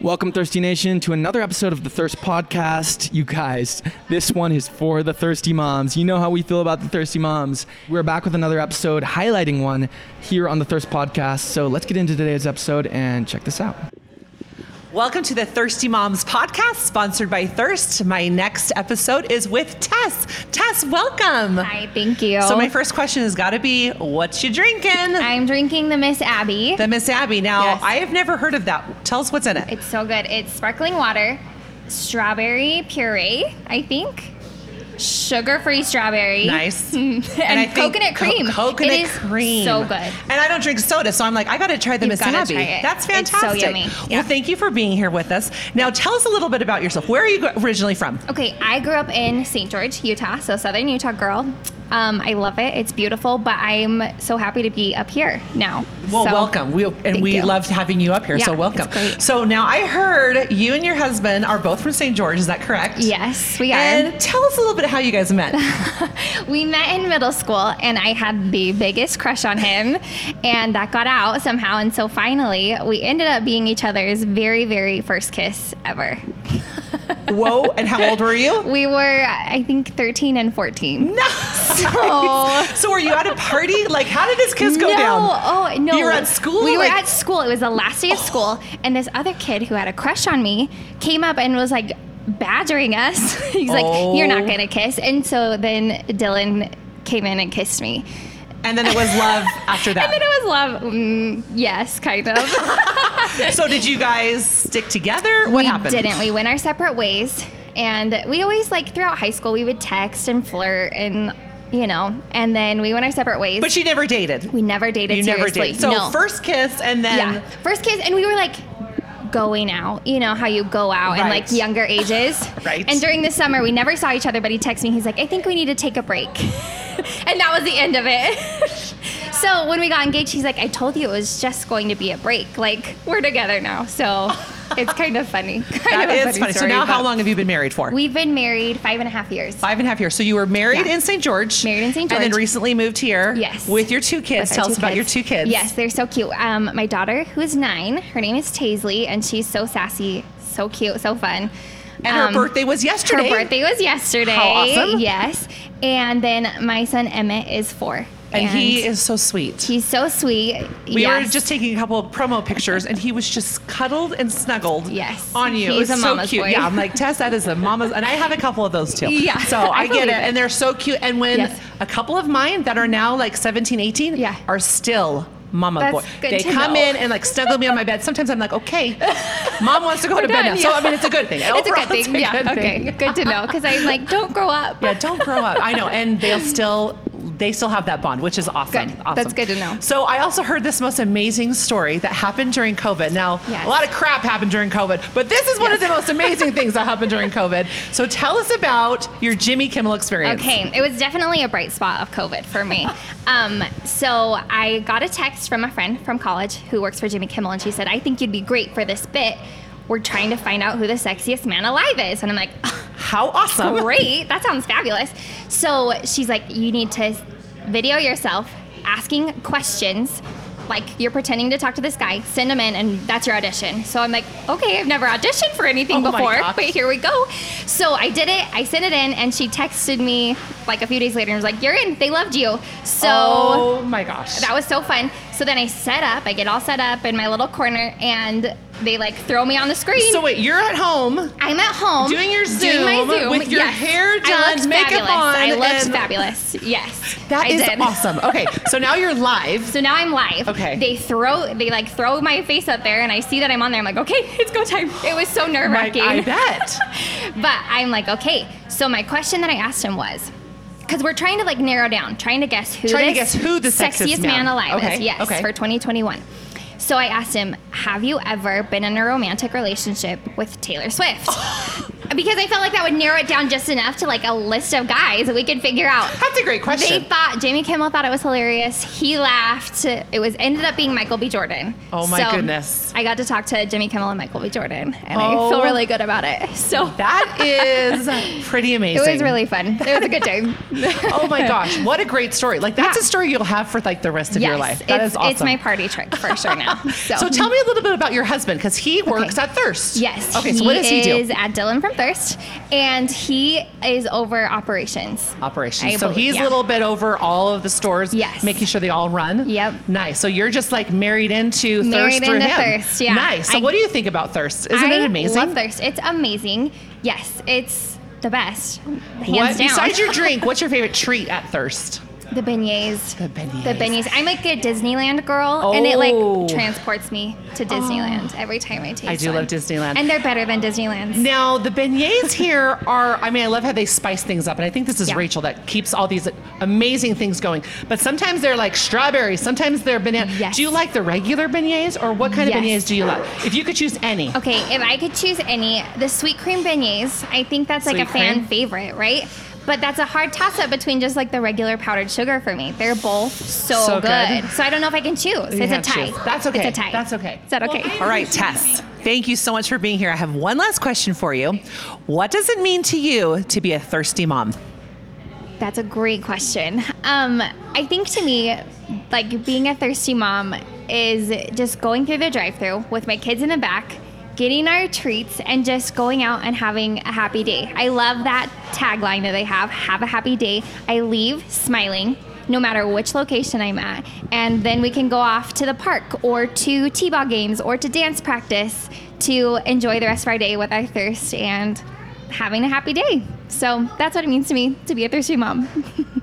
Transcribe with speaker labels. Speaker 1: Welcome, Thirsty Nation, to another episode of the Thirst Podcast. You guys, this one is for the thirsty moms. You know how we feel about the thirsty moms. We're back with another episode, highlighting one here on the Thirst Podcast. So let's get into today's episode and check this out.
Speaker 2: Welcome to the Thirsty Moms podcast, sponsored by Thirst. My next episode is with Tess. Tess, welcome.
Speaker 3: Hi, thank you.
Speaker 2: So, my first question has got to be what you drinking?
Speaker 3: I'm drinking the Miss Abby.
Speaker 2: the Miss Abby. Now,
Speaker 3: Yes.
Speaker 2: I have never heard of that. Tell us what's in it.
Speaker 3: it's so good. It's sparkling water, strawberry puree, I think, sugar-free strawberry.
Speaker 2: Nice.
Speaker 3: and,
Speaker 2: I think
Speaker 3: coconut
Speaker 2: co-
Speaker 3: cream.
Speaker 2: coconut
Speaker 3: It is
Speaker 2: cream.
Speaker 3: So good.
Speaker 2: And I don't drink soda, so I'm like, I got to try the
Speaker 3: You've
Speaker 2: Miss
Speaker 3: gotta
Speaker 2: Abby.
Speaker 3: try it.
Speaker 2: That's
Speaker 3: It's so
Speaker 2: fantastic.
Speaker 3: yummy. Yeah.
Speaker 2: Well, thank you for being here with us. Now, tell us a little bit about yourself. Where are you originally from?
Speaker 3: Okay, I grew up in St. George, Utah, so Southern Utah girl. Um, I love it. It's beautiful, but I'm so happy to be up here now.
Speaker 2: Well,
Speaker 3: So-
Speaker 2: welcome. We and
Speaker 3: Thank
Speaker 2: we
Speaker 3: you.
Speaker 2: loved having you up here.
Speaker 3: Yeah,
Speaker 2: so welcome.
Speaker 3: it's great.
Speaker 2: So now I heard you and your husband are both from St. George. Is that correct?
Speaker 3: Yes, we are.
Speaker 2: And tell us a little bit how you guys met.
Speaker 3: We met in middle school, and I had the biggest crush on him, and that got out somehow. And so finally, we ended up being each other's very, very first kiss ever.
Speaker 2: Whoa! And how old were you?
Speaker 3: We were, I think, 13 and 14.
Speaker 2: No.
Speaker 3: So-
Speaker 2: so were you at a party? Like, how did this kiss go
Speaker 3: no,
Speaker 2: down?
Speaker 3: oh no!
Speaker 2: You were at school.
Speaker 3: We were
Speaker 2: Like,
Speaker 3: at school. It was the last day of school, and this other kid who had a crush on me came up and was like badgering us. He's like, "You're
Speaker 2: Oh.
Speaker 3: not gonna kiss," and so then Dylan came in and kissed me.
Speaker 2: And then it was love after that.
Speaker 3: And then it was love. Mm, yes, kind of.
Speaker 2: so did you guys stick together? What
Speaker 3: we
Speaker 2: happened?
Speaker 3: didn't. We went our separate ways. And we always, like, throughout high school, we would text and flirt and, you know, and then we went our separate ways.
Speaker 2: But you never dated.
Speaker 3: we never dated
Speaker 2: you never
Speaker 3: seriously.
Speaker 2: dated. So
Speaker 3: no.
Speaker 2: first kiss, and then
Speaker 3: yeah. Um, First kiss, and we were like going out. You know how you go out and
Speaker 2: Right.
Speaker 3: like younger ages.
Speaker 2: Right.
Speaker 3: And during the summer, we never saw each other, but he texted me. He's like, I think we need to take a break. and that was the end of it. so when we got engaged, he's like, I told you it was just going to be a break. Like, we're together now. So it's kind of funny. Kind
Speaker 2: that
Speaker 3: of a
Speaker 2: is
Speaker 3: funny.
Speaker 2: funny. So
Speaker 3: story,
Speaker 2: now, how
Speaker 3: but
Speaker 2: long have you been married for?
Speaker 3: We've been married five and a half years.
Speaker 2: Five and a half years. So you were married
Speaker 3: Yeah.
Speaker 2: in St. George.
Speaker 3: Married in St.
Speaker 2: And then
Speaker 3: George.
Speaker 2: recently moved here.
Speaker 3: Yes.
Speaker 2: With your two kids.
Speaker 3: with
Speaker 2: Tell
Speaker 3: our
Speaker 2: us about your two kids.
Speaker 3: Yes, they're so cute. Um, my daughter, who is nine, her name is Taisley, and she's so sassy, so cute, so fun.
Speaker 2: And her
Speaker 3: Um,
Speaker 2: birthday was yesterday.
Speaker 3: Her birthday was yesterday.
Speaker 2: How awesome.
Speaker 3: Yes. And then my son Emmett is four.
Speaker 2: And, he is so sweet.
Speaker 3: he's so sweet.
Speaker 2: we
Speaker 3: yes.
Speaker 2: were just taking a couple of promo pictures, and he was just cuddled and snuggled
Speaker 3: Yes.
Speaker 2: on you. it was
Speaker 3: He's a
Speaker 2: so
Speaker 3: mama's
Speaker 2: cute.
Speaker 3: boy.
Speaker 2: Yeah, I'm like Tess. That is a mama's, and I have a couple of those too.
Speaker 3: Yeah,
Speaker 2: So I,
Speaker 3: I
Speaker 2: get
Speaker 3: believe
Speaker 2: it.
Speaker 3: it.
Speaker 2: and they're so cute. And when
Speaker 3: Yes.
Speaker 2: a couple of mine that are now like 17, 18,
Speaker 3: Yeah.
Speaker 2: are still mama
Speaker 3: That's
Speaker 2: boy.
Speaker 3: good
Speaker 2: they
Speaker 3: to
Speaker 2: come
Speaker 3: know.
Speaker 2: in and like snuggle me on my bed. Sometimes I'm like, okay, mom wants to go to bed now.
Speaker 3: done,
Speaker 2: So
Speaker 3: yeah.
Speaker 2: I mean, it's a good thing.
Speaker 3: It's a
Speaker 2: Overall,
Speaker 3: good thing. yeah.
Speaker 2: good
Speaker 3: okay.
Speaker 2: thing.
Speaker 3: Good to know. Because I'm like, don't grow up.
Speaker 2: Yeah, don't grow up. I know, and they'll still they still have that bond, which is awesome.
Speaker 3: Good.
Speaker 2: Awesome.
Speaker 3: That's good to know.
Speaker 2: So I also heard this most amazing story that happened during COVID. Now
Speaker 3: Yes.
Speaker 2: a lot of crap happened during COVID, but this is one of the most amazing things that happened during COVID. So tell us about your Jimmy Kimmel experience.
Speaker 3: Okay, it was definitely a bright spot of COVID for me. um, so I got a text from a friend from college who works for Jimmy Kimmel, and she said, "I think you'd be great for this bit. We're trying to find out who the sexiest man alive is." And I'm like,
Speaker 2: How awesome!
Speaker 3: "Great, that sounds fabulous." So she's like, "You need to video yourself asking questions." Like you're pretending to talk to this guy, send him in, and that's your audition. So I'm like, okay, I've never auditioned for anything
Speaker 2: Oh my
Speaker 3: before.
Speaker 2: gosh.
Speaker 3: Wait, here we go. So I did it. I sent it in, and she texted me like a few days later and was like, "You're in. They loved you." So
Speaker 2: oh my gosh!
Speaker 3: that was so fun. So then I set up. I get all set up in my little corner, and they like throw me on the screen.
Speaker 2: so wait, you're at home.
Speaker 3: I'm at home
Speaker 2: Doing your
Speaker 3: doing my
Speaker 2: Zoom
Speaker 3: Zoom
Speaker 2: with your
Speaker 3: yes.
Speaker 2: hair
Speaker 3: I
Speaker 2: done,
Speaker 3: looked
Speaker 2: makeup
Speaker 3: fabulous. I
Speaker 2: on,
Speaker 3: looked
Speaker 2: and-
Speaker 3: fabulous. Yes,
Speaker 2: That
Speaker 3: I
Speaker 2: is
Speaker 3: did.
Speaker 2: awesome. Okay, so now you're live.
Speaker 3: So now I'm live.
Speaker 2: Okay.
Speaker 3: They throw, they like throw my face up there, and I see that I'm on there. I'm like, okay, it's go time. It was so nerve
Speaker 2: Like,
Speaker 3: wracking.
Speaker 2: I bet.
Speaker 3: but I'm like, okay. So my question that I asked him was, because we're trying to like narrow down, trying to guess who
Speaker 2: Trying to
Speaker 3: this
Speaker 2: guess who the sexiest man-
Speaker 3: man, alive
Speaker 2: Okay,
Speaker 3: is. Yes,
Speaker 2: okay.
Speaker 3: for 2021. So I asked him, have you ever been in a romantic relationship with Taylor Swift? because I felt like that would narrow it down just enough to like a list of guys that we could figure out.
Speaker 2: That's a great
Speaker 3: They
Speaker 2: question.
Speaker 3: thought Jamie Kimmel thought it was hilarious. He laughed. It was ended up being Michael B. Jordan.
Speaker 2: Oh my goodness.
Speaker 3: I got to talk to Jimmy Kimmel and Michael B. Jordan, and
Speaker 2: Oh.
Speaker 3: I feel really good about it. So
Speaker 2: that is pretty
Speaker 3: it
Speaker 2: amazing.
Speaker 3: was really fun. It was a good time.
Speaker 2: Oh my gosh, what a great story! Like that's
Speaker 3: Yeah.
Speaker 2: a story you'll have for like the rest of
Speaker 3: yes,
Speaker 2: your life. That
Speaker 3: it's,
Speaker 2: is awesome.
Speaker 3: it's my party trick for sure now. So,
Speaker 2: So tell me a little bit about your husband because he works at Thirst.
Speaker 3: Yes.
Speaker 2: Okay. So what does he
Speaker 3: Is
Speaker 2: do?
Speaker 3: at Dylan from Thirst, and he is over operations.
Speaker 2: Operations.
Speaker 3: I
Speaker 2: so
Speaker 3: believe-
Speaker 2: he's
Speaker 3: yeah.
Speaker 2: a little bit over all of the stores.
Speaker 3: Yes.
Speaker 2: Making sure they all run.
Speaker 3: Yep.
Speaker 2: Nice. So you're just like married into
Speaker 3: Married
Speaker 2: Thirst through
Speaker 3: into
Speaker 2: him.
Speaker 3: Thirst, yeah.
Speaker 2: Nice. So
Speaker 3: I-
Speaker 2: what do you think about Thirst? Isn't
Speaker 3: I
Speaker 2: it amazing?
Speaker 3: Love Thirst. It's amazing. Yes, it's the best, hands
Speaker 2: what
Speaker 3: down.
Speaker 2: besides your drink? What's your favorite treat at Thirst?
Speaker 3: the beignets.
Speaker 2: The beignets.
Speaker 3: The beignets. I'm like a Disneyland girl, and it
Speaker 2: Oh.
Speaker 3: like transports me to Disneyland every time I taste.
Speaker 2: I do
Speaker 3: one.
Speaker 2: love Disneyland.
Speaker 3: and they're better than Disneyland's.
Speaker 2: Now the beignets here are. I mean, I love how they spice things up, and I think this is
Speaker 3: Yeah.
Speaker 2: Rachel that keeps all these amazing things going. But sometimes they're like strawberries. Sometimes they're banana.
Speaker 3: Yes.
Speaker 2: Do you like the regular beignets, or what kind of
Speaker 3: Yes.
Speaker 2: beignets do you like? If you could choose any,
Speaker 3: Okay, if I could choose any, the sweet cream beignets, I think that's like
Speaker 2: Sweet
Speaker 3: a fan
Speaker 2: cream?
Speaker 3: favorite, right? But that's a hard toss up between just like the regular powdered sugar for me. They're both so,
Speaker 2: So good.
Speaker 3: good. So I don't know if I can choose.
Speaker 2: You
Speaker 3: it's a
Speaker 2: have to
Speaker 3: tie.
Speaker 2: choose. That's okay.
Speaker 3: It's a tie.
Speaker 2: That's okay.
Speaker 3: Is that okay?
Speaker 2: Well, I-
Speaker 4: All right, Tess. Thank you so much for being here. I have one last question for you. What does it mean to you to be a thirsty mom?
Speaker 3: That's a great question. Um, I think to me, like being a thirsty mom is just going through the drive through with my kids in the back, getting our treats, and just going out and having a happy day. I love that tagline that they have have a happy day. I leave smiling. No matter which location I'm at. And then we can go off to the park or to T ball games or to dance practice to enjoy the rest of our day with our thirst and having a happy day. So that's what it means to me to be a thirsty mom.